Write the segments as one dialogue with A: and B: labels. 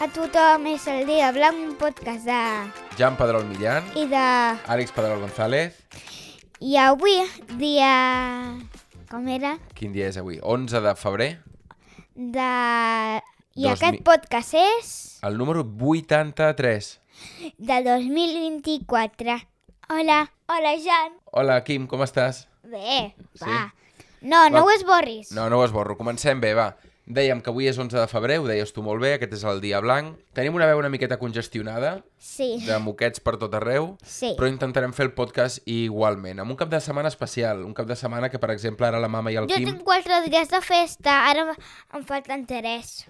A: a tothom, és el dia blanc, un podcast de...
B: Jan Pedrol Millán,
A: i de...
B: Àlex Pedrol González,
A: I avui, dia... com era?
B: quin dia és avui? 11 de febrer,
A: De... I
B: Dos
A: aquest
B: mi-
A: podcast és
B: el número 83.
A: de 2024. Hola, hola Jan.
B: Hola, Quim, com estàs?
A: Bé,
B: Sí?
A: va. No, no
B: Va.
A: ho esborris.
B: No, no ho esborro. Comencem bé, va. Dèiem que avui és 11 de febrer, ho deies tu molt bé, aquest és el dia blanc. Tenim una veu una miqueta congestionada,
A: Sí,
B: de moquets per tot arreu,
A: sí.
B: però intentarem fer el podcast igualment, amb un cap de setmana especial, un cap de setmana que, per exemple, ara la mama i el
A: Jo
B: Quim
A: tinc quatre dies de festa, ara em- em falten tres.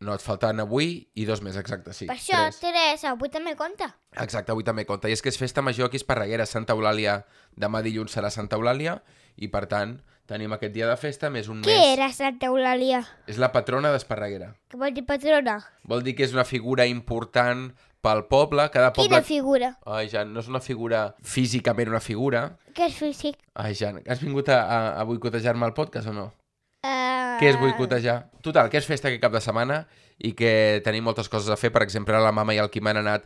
B: no et faltaran avui i dos més, exacte, sí.
A: Per això,
B: tres.
A: tres, avui també compta.
B: Exacte, avui també compta. I és que és festa major aquí a Esparreguera, Santa Eulàlia. Demà dilluns serà Santa Eulàlia i, per tant, tenim aquest dia de festa més un
A: Què
B: mes.
A: era Santa Eulàlia?
B: És la patrona d'Esparreguera.
A: Que vol dir patrona?
B: Vol dir que és una figura important pel poble. Cada
A: Quina
B: poble...
A: figura?
B: Ai, Jan, no és una figura físicament una figura.
A: Què és físic?
B: Ai, Jan, has vingut a, a, a boicotejar-me el podcast o no?
A: Uh...
B: Què és boicotejar? Total, que és festa aquest cap de setmana i que tenim moltes coses a fer. Per exemple, la mama i el Quim han anat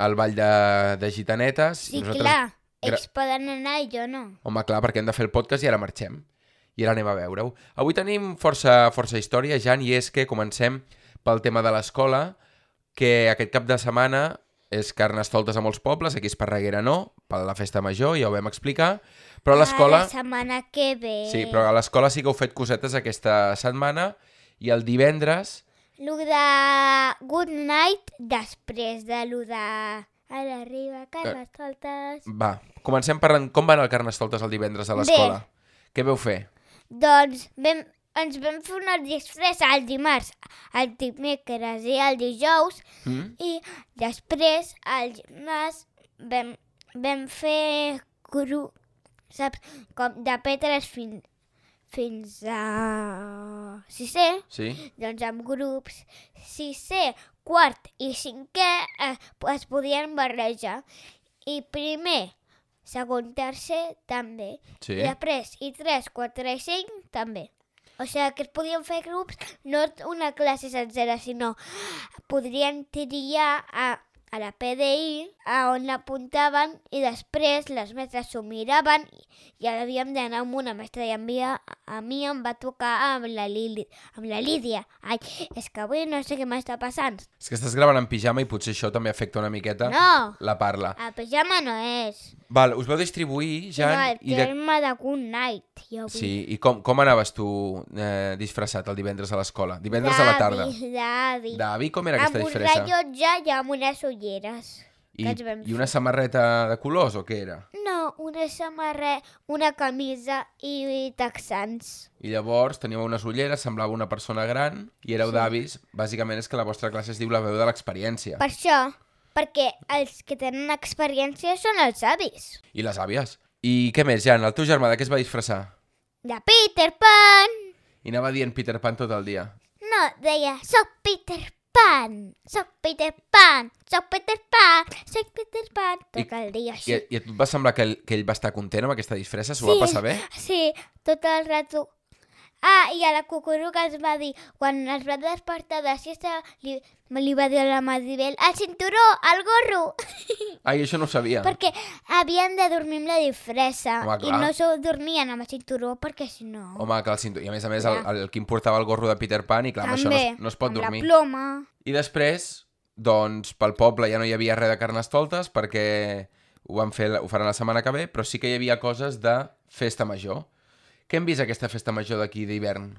B: al ball de, de gitanetes.
A: Sí,
B: i
A: Nosaltres... clar,
B: Gra-
A: ells poden anar i jo no.
B: Home, clar, perquè hem de fer el podcast i ara marxem. I ara anem a veure-ho. Avui tenim força, força història, Jan, i és que comencem pel tema de l'escola, que aquest cap de setmana és carnestoltes a molts pobles, aquí a Esparreguera no, per la festa major, ja ho vam explicar, però a l'escola...
A: Ah, la setmana que ve.
B: Sí, però a l'escola sí que heu fet cosetes aquesta setmana i el divendres...
A: Lo de Good Night després de lo de... A la riba,
B: Eh.
A: carnestoltes...
B: Va, comencem parlant com van el carnestoltes el divendres a l'escola. Què veu fer?
A: Doncs vam, ens vam fer una disfressa el dimarts, el dimecres i el dijous
B: Mm?
A: i després al gimnàs vam, vam fer cru, saps, com de P3 fins, fins a 6è,
B: Sí?
A: doncs amb grups 6è, quart i 5è eh, es podien barrejar i primer, segon, tercer també.
B: Sí?
A: I després, i 3, 4 i 5 també. O sigui, que es podien fer grups, no una classe sencera, sinó podrien triar a, a la PDI a on l'apuntaven i després les mestres s'ho miraven i, i havíem d'anar amb una mestra i a mi, a mi em va tocar amb la, Lili, amb la Lídia. Ai, és que avui no sé què m'està passant.
B: És que estàs gravant en pijama i potser això també afecta una miqueta
A: No.
B: la parla.
A: A pijama no és,
B: Val, us vau distribuir,
A: ja,
B: Jan,
A: sinó el
B: i, de...
A: terme de... Good Night. Jo vull
B: sí, i com, com anaves tu eh, disfressat el divendres a l'escola? Divendres a la tarda.
A: D'avi, D'avi.
B: D'avi, com era aquesta
A: amb un
B: disfressa?
A: rellotge i amb unes ulleres.
B: I,
A: que ens vam
B: I una samarreta de colors o què era?
A: No, una samarre, una camisa i, i texans.
B: I llavors teníeu unes ulleres, semblava una persona gran i éreu sí. d'avis. Bàsicament és que la vostra classe es diu la veu de l'experiència.
A: Per això, perquè els que tenen experiència són els avis.
B: I les àvies. I què més, Jan? El teu germà de què es va disfressar?
A: De Peter Pan!
B: I anava dient Peter Pan tot el dia.
A: No, deia, soc Peter Pan! Soc Peter Pan! Soc Peter Pan! Soc Peter Pan!
B: I-
A: Tot el dia així.
B: I, i a tu et va semblar que ell, que ell va estar content amb aquesta disfressa? S'ho va passar bé?
A: Sí, tot el rato. Ah, i a la cucuruca els va dir, quan es va despertar de siesta, li, li va dir a la Maribel, el cinturó, el gorro,
B: Ai, això no ho sabia.
A: perquè havien de dormir amb la disfressa
B: Ah. Home,
A: i
B: clar.
A: no se dormien amb el cinturó perquè si no...
B: Home, que el cinturó... I a més a més, el,
A: Clar.
B: el Quim portava el gorro de Peter Pan i clar, amb això no, es- no es pot
A: amb
B: dormir.
A: la ploma...
B: I després, doncs, pel poble ja no hi havia res de carnestoltes perquè ho, van fer, la- ho faran la setmana que ve, però sí que hi havia coses de festa major. Què hem vist aquesta festa major d'aquí d'hivern?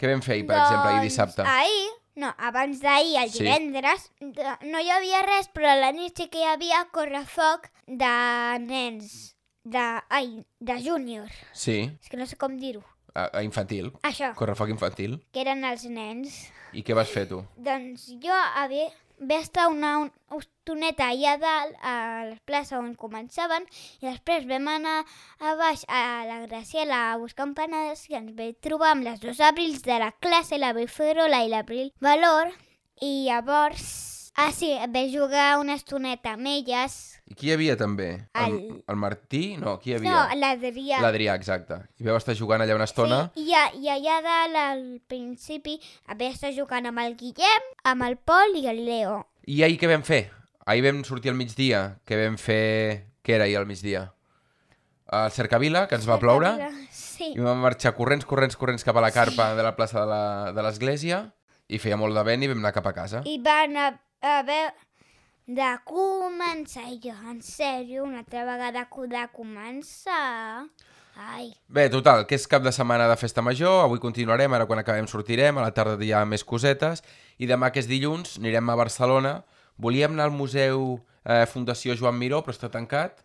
B: Què vam fer ahir, per exemple,
A: Doncs,
B: ahir dissabte?
A: Ahir, no, abans d'ahir, el
B: Sí.
A: divendres, de- no hi havia res, però a la nit sí que hi havia correfoc de nens, de, ai, de júnior.
B: Sí,
A: És que no sé com dir-ho.
B: a, a infantil,
A: Això,
B: correfoc infantil.
A: que eren els nens.
B: I què vas fer tu?
A: Doncs jo havia, vaig estar una un- estoneta allà dalt, a la plaça on començaven, i després vam anar a baix a la Graciela a buscar empanades i ens vam trobar amb les dos abrils de la classe, la Biferola i l'Abril Valor, i llavors Ah, sí, vaig jugar una estoneta amb elles.
B: I qui hi havia també?
A: El-
B: el Martí? No, qui hi
A: No,
B: havia?
A: l'Adrià.
B: L'Adrià, exacte. I vau estar jugant allà una estona.
A: Sí, i, a- i allà dalt, al principi, vaig estar jugant amb el Guillem, amb el Pol i el Leo.
B: I ahir què vam fer? Ahir vam sortir al migdia, que vam fer... Què era ahir al migdia? Al Cercavila, que ens va ploure,
A: Sí.
B: i vam marxar corrents, corrents, corrents cap a la carpa de la plaça de la- de l'església, i feia molt de vent i vam anar cap a casa.
A: I van a, haver de començar. I jo, en sèrio, una altra vegada co- de començar. Ai,
B: Bé, total, que és cap de setmana de festa major, avui continuarem, ara quan acabem sortirem, a la tarda hi ha més cosetes, i demà, que és dilluns, anirem a Barcelona. Volíem anar al Museu eh, Fundació Joan Miró, però està tancat,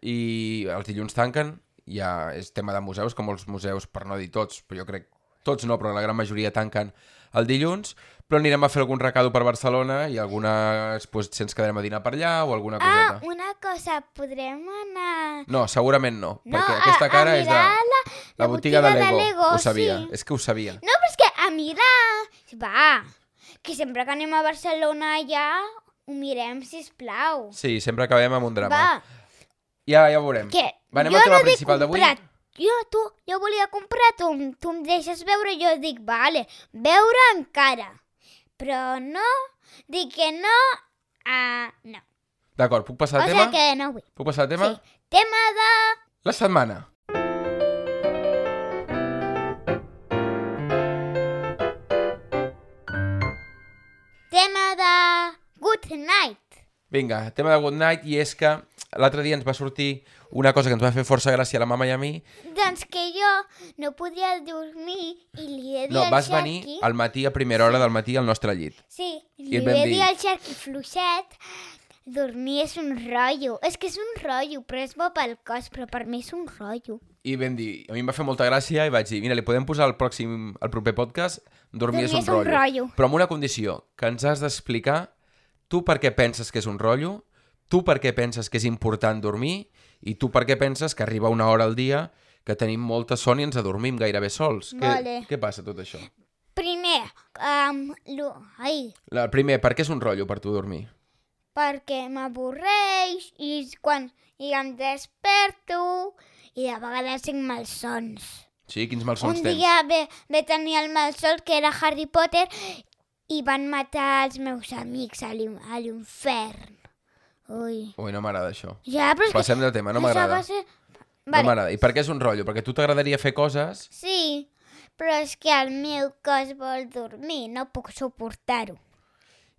B: i els dilluns tanquen, ja és tema de museus, com els museus, per no dir tots, però jo crec, tots no, però la gran majoria tanquen el dilluns, però anirem a fer algun recado per Barcelona i algunes, doncs, si ens quedarem a dinar per allà o alguna
A: ah,
B: coseta.
A: una cosa, podrem anar...
B: No, segurament no,
A: No,
B: perquè aquesta cara
A: a, a
B: és de...
A: mirar la,
B: La botiga, de Lego. ho sabia,
A: sí.
B: és que ho sabia.
A: No, però és que a mirar... Va, que sempre que anem a Barcelona ja ho mirem, si plau.
B: Sí, sempre acabem amb un drama.
A: Va,
B: Ja, ja ho veurem.
A: que
B: Va, anem
A: jo
B: al tema
A: no dic
B: principal d'avui?
A: comprar. Jo, tu, jo volia comprar, tu, em- tu em deixes veure, jo dic, vale, veure encara. Però no, dic que no, ah, no.
B: D'acord, puc
A: o
B: passar al
A: sigui
B: tema?
A: que no vull.
B: Puc passar al tema?
A: Sí. Tema de...
B: La setmana.
A: Tema de... Good night.
B: Vinga, tema de Good Night, i és que l'altre dia ens va sortir una cosa que ens va fer força gràcia a la mama i a mi.
A: Doncs que jo no podia dormir i li he dit
B: No,
A: al
B: vas
A: Sharky...
B: venir al matí, a primera hora del matí, al nostre llit.
A: Sí,
B: I
A: li
B: et vam
A: vaig
B: dir-
A: dir al Sharky fluixet, dormir és un rotllo. És que és un rotllo, però és bo pel cos, però per mi és un rotllo.
B: I vam dir, a mi em va fer molta gràcia i vaig dir, mira, li podem posar al pròxim, al proper podcast Dormir és un rotllo. Però amb una condició, que ens has d'explicar tu per què penses que és un rotllo, tu per què penses que és important dormir i tu per què penses que arriba una hora al dia que tenim molta son i ens adormim gairebé sols.
A: Vale.
B: Què, què passa tot això?
A: Primer, um, lo... ai,
B: La, primer, per què és un rotllo per tu dormir?
A: perquè m'avorreix i quan i em desperto i de vegades tinc malsons.
B: Sí, quins
A: Un
B: malsons tens?
A: dia ve, ve tenir el malsol que era Harry Potter i van matar els meus amics a l'in- a l'infern. Ui.
B: Ui, no m'agrada això.
A: Ja, però és que
B: Passem de tema, no
A: Això
B: m'agrada.
A: va ser-
B: No
A: Vale.
B: m'agrada. I per què és un rotllo? Perquè a tu t'agradaria fer coses...
A: sí, però és que el meu cos vol dormir, no puc suportar-ho.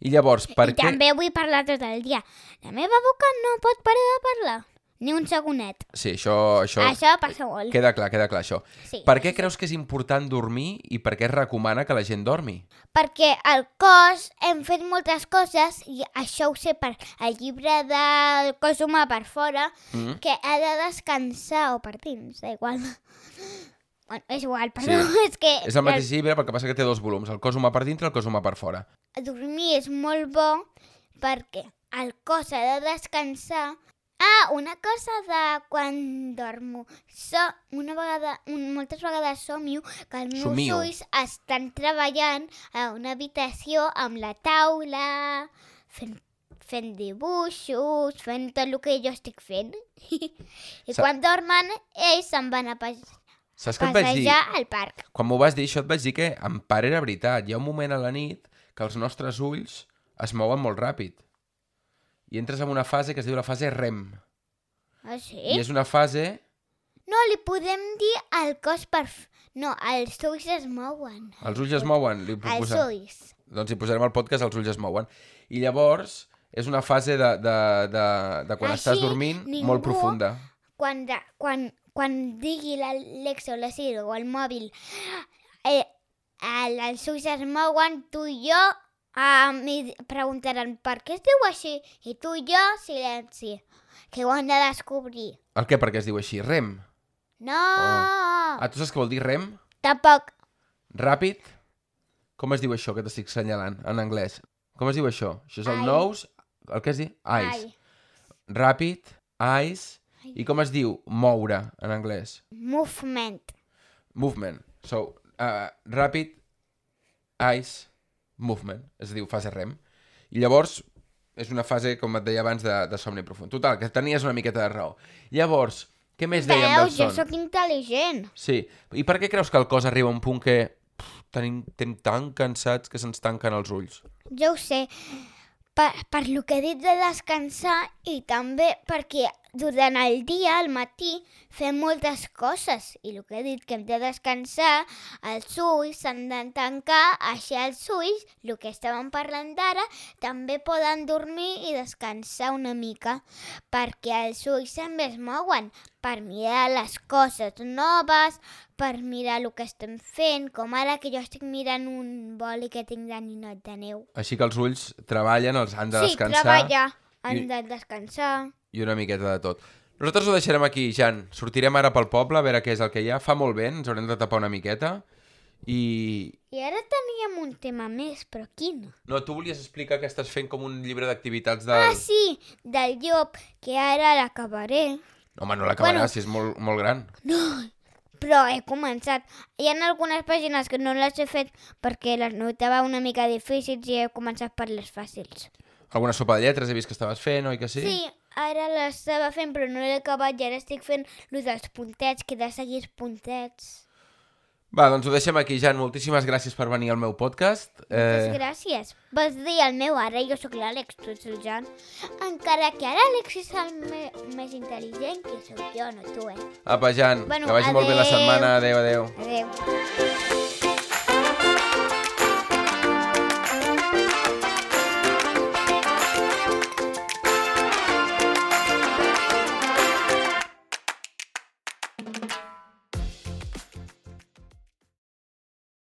B: I llavors, per
A: I
B: què...
A: també vull parlar tot el dia. La meva boca no pot parar de parlar, ni un segonet.
B: Sí, això, això...
A: Això passa molt.
B: Queda clar, queda clar, això.
A: Sí.
B: Per què creus que és important dormir i per què es recomana que la gent dormi?
A: Perquè el cos hem fet moltes coses i això ho sé per el llibre del cos humà per fora,
B: Mm?
A: que ha de descansar o per dins, da igual. Bueno, és igual,
B: Sí.
A: però és que...
B: És el mateix llibre, però el que passa que té dos volums, el cos humà per dintre i el cos humà per fora.
A: dormir és molt bo perquè el cos ha de descansar. Ah, una cosa de quan dormo. So, una vegada, un, moltes vegades somio que els meus
B: Somio.
A: ulls estan treballant a una habitació amb la taula, fent, fent dibuixos, fent tot el que jo estic fent. I
B: Sa-
A: quan dormen, ells se'n van a pa-
B: Saps què et vaig dir?
A: passejar al parc.
B: Quan m'ho vas dir, això et vaig dir que en part era veritat. Hi ha un moment a la nit que els nostres ulls es mouen molt ràpid. I entres en una fase que es diu la fase REM.
A: Ah, sí?
B: I és una fase...
A: No, li podem dir al cos per... f- No, els ulls es mouen.
B: Els ulls es mouen. Li puc
A: Els
B: posar...
A: ulls.
B: Doncs hi posarem al podcast Els ulls es mouen. I llavors és una fase de, de, de, de quan
A: Així,
B: estàs dormint
A: ningú-
B: molt profunda.
A: Quan, de, quan, quan digui l'Alexa o la Siri o el mòbil eh, el, els ulls es mouen, tu i jo eh, m'hi preguntaran per què es diu així i tu i jo silenci, que ho han de descobrir.
B: El què? Perquè es diu així, REM.
A: No,
B: Ah, tu saps què vol dir REM?
A: tampoc.
B: Ràpid. Com es diu això que t'estic senyalant en anglès? Com es diu això? Això és el
A: Eye.
B: nose... El que es diu? Eyes. Ràpid, eyes... I com es diu moure en anglès?
A: Movement.
B: Movement. So, uh, rapid, eyes, movement. Es diu fase REM. I llavors és una fase, com et deia abans, de, de somni profund. Total, que tenies una miqueta de raó. Llavors, què més dèiem del
A: Veus, jo
B: son?
A: sóc intel·ligent.
B: Sí. I per què creus que el cos arriba a un punt que pff, tenim, tenim tan cansats que se'ns tanquen els ulls?
A: Jo ho sé, per, per lo que he dit de descansar i també perquè durant el dia, al matí, fem moltes coses. I el que he dit que hem de descansar, els ulls s'han de tancar, així els ulls, el que estàvem parlant d'ara, també poden dormir i descansar una mica, perquè els ulls també es mouen per mirar les coses noves, per mirar el que estem fent, com ara que jo estic mirant un boli que tinc de ninot de neu
B: Així que els ulls treballen, els han de
A: sí,
B: descansar
A: treballa. Han
B: i-
A: de descansar.
B: i una miqueta de tot. Nosaltres ho deixarem aquí, Jan. Sortirem ara pel poble a veure què és el que hi ha. Fa molt vent, ens haurem de tapar una miqueta. I...
A: I ara teníem un tema més, però quin?
B: No, tu volies explicar que estàs fent com un llibre d'activitats del...
A: Ah, sí, del llop, que ara l'acabaré.
B: Home, no l'acabaràs,
A: Bueno.
B: si és molt, molt gran.
A: Però he començat. Hi ha algunes pàgines que no les he fet perquè les notava una mica difícils i he començat per les fàcils.
B: Alguna sopa de lletres he vist que estaves fent, oi que sí?
A: Sí, ara l'estava fent però no l'he acabat i ara estic fent el dels puntets, que he de seguir els puntets.
B: Va, doncs ho deixem aquí, Jan. Moltíssimes gràcies per venir al meu podcast. Eh.
A: Moltes gràcies. Vas dir el meu ara, jo sóc l'Àlex, tu ets el Jan. Encara que ara l'Àlex és el me més intel·ligent que sóc jo, no tu, eh?
B: Apa, Jan,
A: Bueno,
B: que vagi molt bé la
A: adeu.
B: setmana. Adéu, adéu.
A: Adéu.